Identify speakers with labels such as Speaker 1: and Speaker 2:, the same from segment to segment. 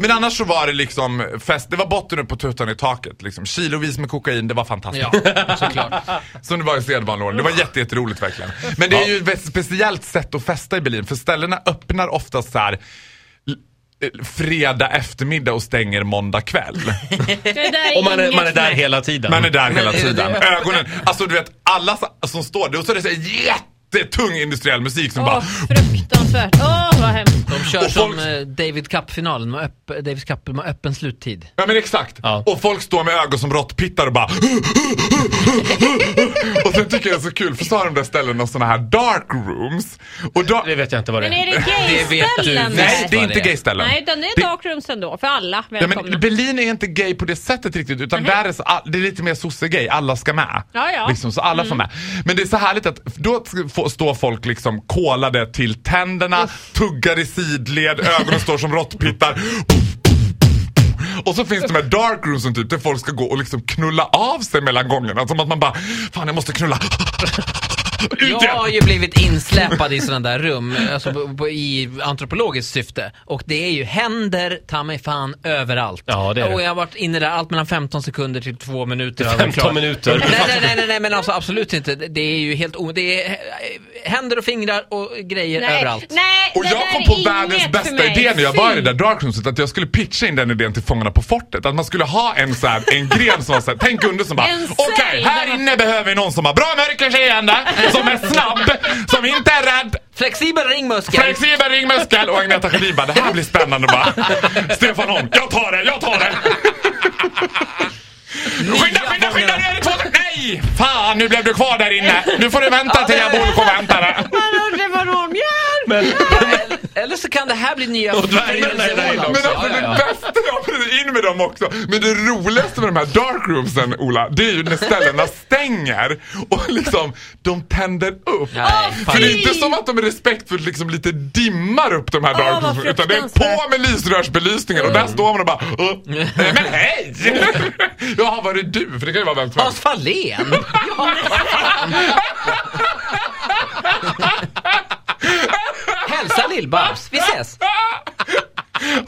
Speaker 1: Men annars så var det liksom fest, det var botten upp på tuttan i taket liksom. Kilovis med kokain, det var fantastiskt.
Speaker 2: Ja, såklart.
Speaker 1: Som det var i sedvanlig ordning. Det var jätte- jätteroligt verkligen. Men det är ju ett speciellt sätt att festa i Berlin för ställena öppnar oftast så här l- eh, fredag eftermiddag och stänger måndag kväll.
Speaker 2: Och man är, man är där hela tiden.
Speaker 1: Man är där hela
Speaker 2: Men-
Speaker 1: tiden. Ögonen, alltså du vet alla sa- som står där och så är det så här jättetung industriell musik som
Speaker 3: Åh,
Speaker 1: bara
Speaker 3: fruktansvärt. Åh, vad hemskt.
Speaker 2: De kör
Speaker 1: Och
Speaker 2: som
Speaker 1: folk-
Speaker 2: eh, David Cup-finalen, med öpp, David Cup med öppen sluttid.
Speaker 1: Ja men exakt.
Speaker 2: Ja.
Speaker 1: Och folk står med ögon som råttpittar och bara Och sen tycker jag det är så kul, för så har de där ställena såna här dark rooms. Och da-
Speaker 2: Det vet jag inte vad det är.
Speaker 3: Men är det gay-ställen
Speaker 2: visst
Speaker 1: Nej
Speaker 3: här?
Speaker 1: det är
Speaker 2: vad
Speaker 1: inte gayställen.
Speaker 3: Nej, utan det är
Speaker 1: Det-
Speaker 3: darkrooms ändå, för alla.
Speaker 1: Ja,
Speaker 3: Välkomna.
Speaker 1: men Berlin är inte gay på det sättet riktigt utan där är så, all- det är lite mer sosse-gay, alla ska med.
Speaker 3: Ja, Mm. ja.
Speaker 1: Liksom, så alla får med. Men det är så härligt att då t- få- står folk liksom kolade till tänderna, tuggar i sidled, ögonen står som råttpittar. Och så finns de här dark roomsen typ där folk ska gå och liksom knulla av sig mellan gångerna. Som att man bara, fan jag måste knulla. Ut igen!
Speaker 2: Jag har ju blivit insläpad i sådana där rum, alltså på, på, i antropologiskt syfte. Och det är ju händer ta mig fan överallt.
Speaker 4: Ja, det är det.
Speaker 2: Och jag har varit inne där allt mellan 15 sekunder till 2 minuter. har jag varit
Speaker 4: 15
Speaker 2: klar.
Speaker 4: minuter.
Speaker 2: Nej, nej, nej, nej, nej, men alltså absolut inte. Det är ju helt o... Det är eh, händer och fingrar och grejer
Speaker 3: Nej,
Speaker 2: överallt.
Speaker 3: Nej,
Speaker 1: Och
Speaker 3: det
Speaker 1: jag
Speaker 3: där
Speaker 1: kom
Speaker 3: är
Speaker 1: på
Speaker 3: inget
Speaker 1: världens
Speaker 3: för
Speaker 1: bästa
Speaker 3: mig.
Speaker 1: idé när jag var i det
Speaker 3: Fy.
Speaker 1: där darkroomset att jag skulle pitcha in den idén till Fångarna på fortet. Att man skulle ha en så här, en gren som var så här, tänk under som bara
Speaker 3: En cell
Speaker 1: okej,
Speaker 3: där
Speaker 1: här
Speaker 3: man-
Speaker 1: inne behöver vi någon som har bra mörkerseende, som är snabb, som inte är rädd,
Speaker 2: Flexibel ringmuskel.
Speaker 1: flexibel ringmuskel och Agneta Sjödin bara, det här blir spännande bara. Stefan Holm, jag tar det, jag tar det! Skynda, skynda, skynda! Nu är det två... Nej! Fan, nu blev du kvar där inne. Nu får du vänta till jag bor och väntar.
Speaker 3: Jag undrar vad de gör.
Speaker 4: Men,
Speaker 2: Eller- Eller så kan det här bli nya
Speaker 4: Och dvärgarna är där
Speaker 2: förbindelser.
Speaker 4: inne
Speaker 1: Men
Speaker 4: också.
Speaker 1: alltså det bästa, ja, precis, in med dem också. Men det roligaste med de här dark roomsen, Ola, det är ju när ställena stänger och liksom de tänder upp.
Speaker 2: Nej, fan.
Speaker 1: För det är inte som att de är respektfullt liksom lite dimmar upp de här dark
Speaker 3: vad
Speaker 1: roomsen utan det är på
Speaker 3: fruktansvärt.
Speaker 1: med lysrörsbelysningen och där står man och bara "Åh, nej, Men hej! Jaha, var det du? För det kan ju vara vem som
Speaker 2: Hans
Speaker 1: helst.
Speaker 2: Fahlén! Ja. Hälsa Lill-Babs, vi ses!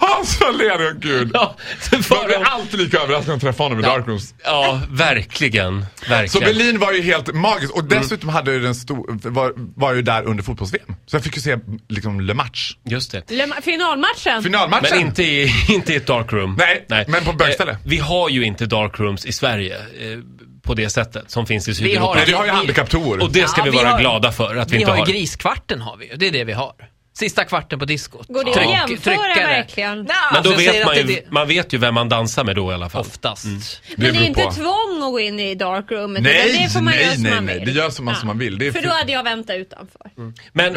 Speaker 1: Hans Fahlén, ja gud.
Speaker 4: ja, det
Speaker 1: Man
Speaker 4: var
Speaker 1: blir
Speaker 4: de,
Speaker 1: alltid lika överraskad när man träffar honom i dark rooms.
Speaker 4: ja, verkligen.
Speaker 1: Så
Speaker 4: verkligen. Mm.
Speaker 1: Berlin var ju helt magiskt och dessutom hade ju den stor, var, var ju där under fotbolls-VM. Så jag fick ju se liksom Le Match.
Speaker 4: Just det.
Speaker 3: Lema- Finalmatchen.
Speaker 1: Finalmatchen!
Speaker 4: Men inte i, inte i ett darkroom.
Speaker 1: Nej, men på bögställe.
Speaker 4: Eh, vi har ju inte darkrooms i Sverige eh, på det sättet som finns i Sydeuropa.
Speaker 2: har-
Speaker 1: Nej, du har ju
Speaker 2: Vi-
Speaker 1: handikapptour.
Speaker 4: Och det ska
Speaker 2: Ja,
Speaker 4: vi
Speaker 2: vi
Speaker 4: vara
Speaker 2: har-
Speaker 4: glada för att vi,
Speaker 2: Vi
Speaker 4: inte
Speaker 2: har ju
Speaker 4: har.
Speaker 2: griskvarten har vi ju, det är det vi har. Sista kvarten på diskot.
Speaker 3: Går det att jämföra verkligen?
Speaker 2: Nej,
Speaker 3: Men
Speaker 4: Men
Speaker 2: alltså,
Speaker 4: då
Speaker 2: jag säger
Speaker 4: vet man
Speaker 2: att
Speaker 4: ju,
Speaker 2: det- det- Mm.
Speaker 4: man vet ju vem man dansar med då i alla fall.
Speaker 2: Oftast.
Speaker 3: Men det
Speaker 1: beror
Speaker 3: är inte
Speaker 1: på.
Speaker 3: tvång att gå in i darkroomet.
Speaker 1: Nej,
Speaker 3: utan det får man
Speaker 1: nej,
Speaker 3: göra som
Speaker 1: nej,
Speaker 3: man
Speaker 1: nej.
Speaker 3: vill.
Speaker 1: Det gör som man- som man vill. Det är Mm.
Speaker 3: för
Speaker 1: fri-
Speaker 3: då hade jag väntat utanför.
Speaker 4: Men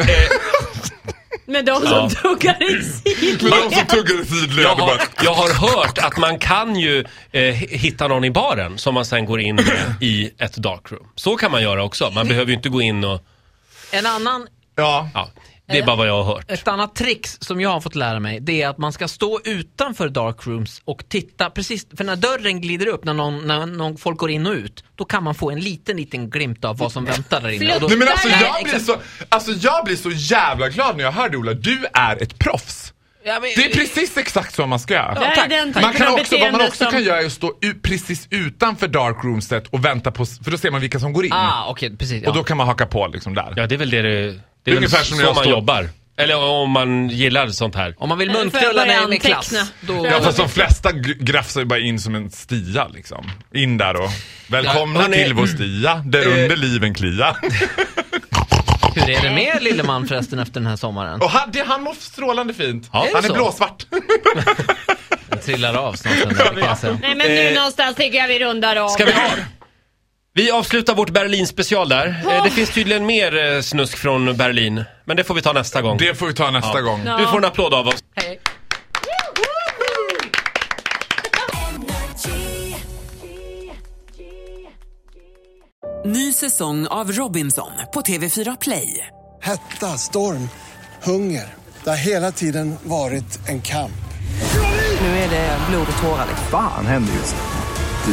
Speaker 4: eh,
Speaker 3: Med de som
Speaker 4: Ja.
Speaker 3: tuggar i
Speaker 1: Mm. Men
Speaker 3: sidled.
Speaker 1: de som tuggar i sidled
Speaker 4: jag,
Speaker 1: och bara...
Speaker 4: har, jag har hört att man kan ju eh, hitta någon i baren som man sen går in med i ett darkroom. Så kan man göra också. Man behöver ju inte gå in och...
Speaker 2: En annan
Speaker 1: Ja.
Speaker 4: Ja, det är bara vad jag har hört.
Speaker 2: Ett annat trix som jag har fått lära mig, det är att man ska stå utanför dark rooms och titta precis, för när dörren glider upp, när, någon, när någon, folk går in och ut, då kan man få en liten, liten glimt av vad som väntar där inne. Och då,
Speaker 1: Nej men alltså jag, blir
Speaker 4: liksom-
Speaker 2: exakt.
Speaker 1: så, alltså jag blir så jävla glad när jag hörde Ola, du är ett proffs.
Speaker 2: Ja, men-
Speaker 1: Det är precis exakt så man ska göra.
Speaker 3: Det här är
Speaker 2: tack.
Speaker 3: den
Speaker 1: Man
Speaker 3: typen
Speaker 1: kan
Speaker 3: av
Speaker 1: också, vad man
Speaker 3: beteende
Speaker 1: också
Speaker 3: som-
Speaker 1: kan göra är att stå u- precis utanför dark roomset och vänta på, s- för då ser man vilka som går in.
Speaker 2: Ah, okej, precis. Ja.
Speaker 1: Och då kan man haka på liksom där.
Speaker 4: Ja, det är väl det det, det är
Speaker 1: Ungefär
Speaker 4: väl
Speaker 1: som
Speaker 4: som
Speaker 1: när
Speaker 4: så
Speaker 1: jag
Speaker 4: man
Speaker 1: står-
Speaker 4: jobbar. Eller om man gillar sånt här.
Speaker 2: Om man vill
Speaker 3: Men får jag
Speaker 2: muntknulla
Speaker 3: börja
Speaker 2: mig med klass,
Speaker 3: anteckna?
Speaker 2: då...
Speaker 1: Ja fast de flesta g- grafsar ju bara in som en stia liksom. In där och Mm. Eh. välkomna
Speaker 4: Ja, hörni.
Speaker 1: till vår stia, där under liven klia.
Speaker 2: Hur är det med Lilleman förresten efter den här sommaren?
Speaker 1: Och han, det, han mår strålande fint.
Speaker 2: Är det
Speaker 1: han är
Speaker 2: så?
Speaker 1: blåsvart.
Speaker 2: Den trillar av snart den där, kan jag säga.
Speaker 3: Nej men nu
Speaker 4: Eh,
Speaker 3: någonstans tycker jag vi rundar av.
Speaker 4: Ska vi, vi avslutar vårt Berlin-special där. Eh, Det finns tydligen mer eh, snusk från Berlin, men det får vi ta nästa gång.
Speaker 1: Det får vi ta nästa gång.
Speaker 3: Ja.
Speaker 4: Du får en applåd av oss.
Speaker 5: Ny säsong av Robinson på TV4 Play.
Speaker 6: Hetta, storm, hunger. Det har hela tiden varit en kamp.
Speaker 5: Nu är det blod och tårar.
Speaker 7: Fan händer just nu.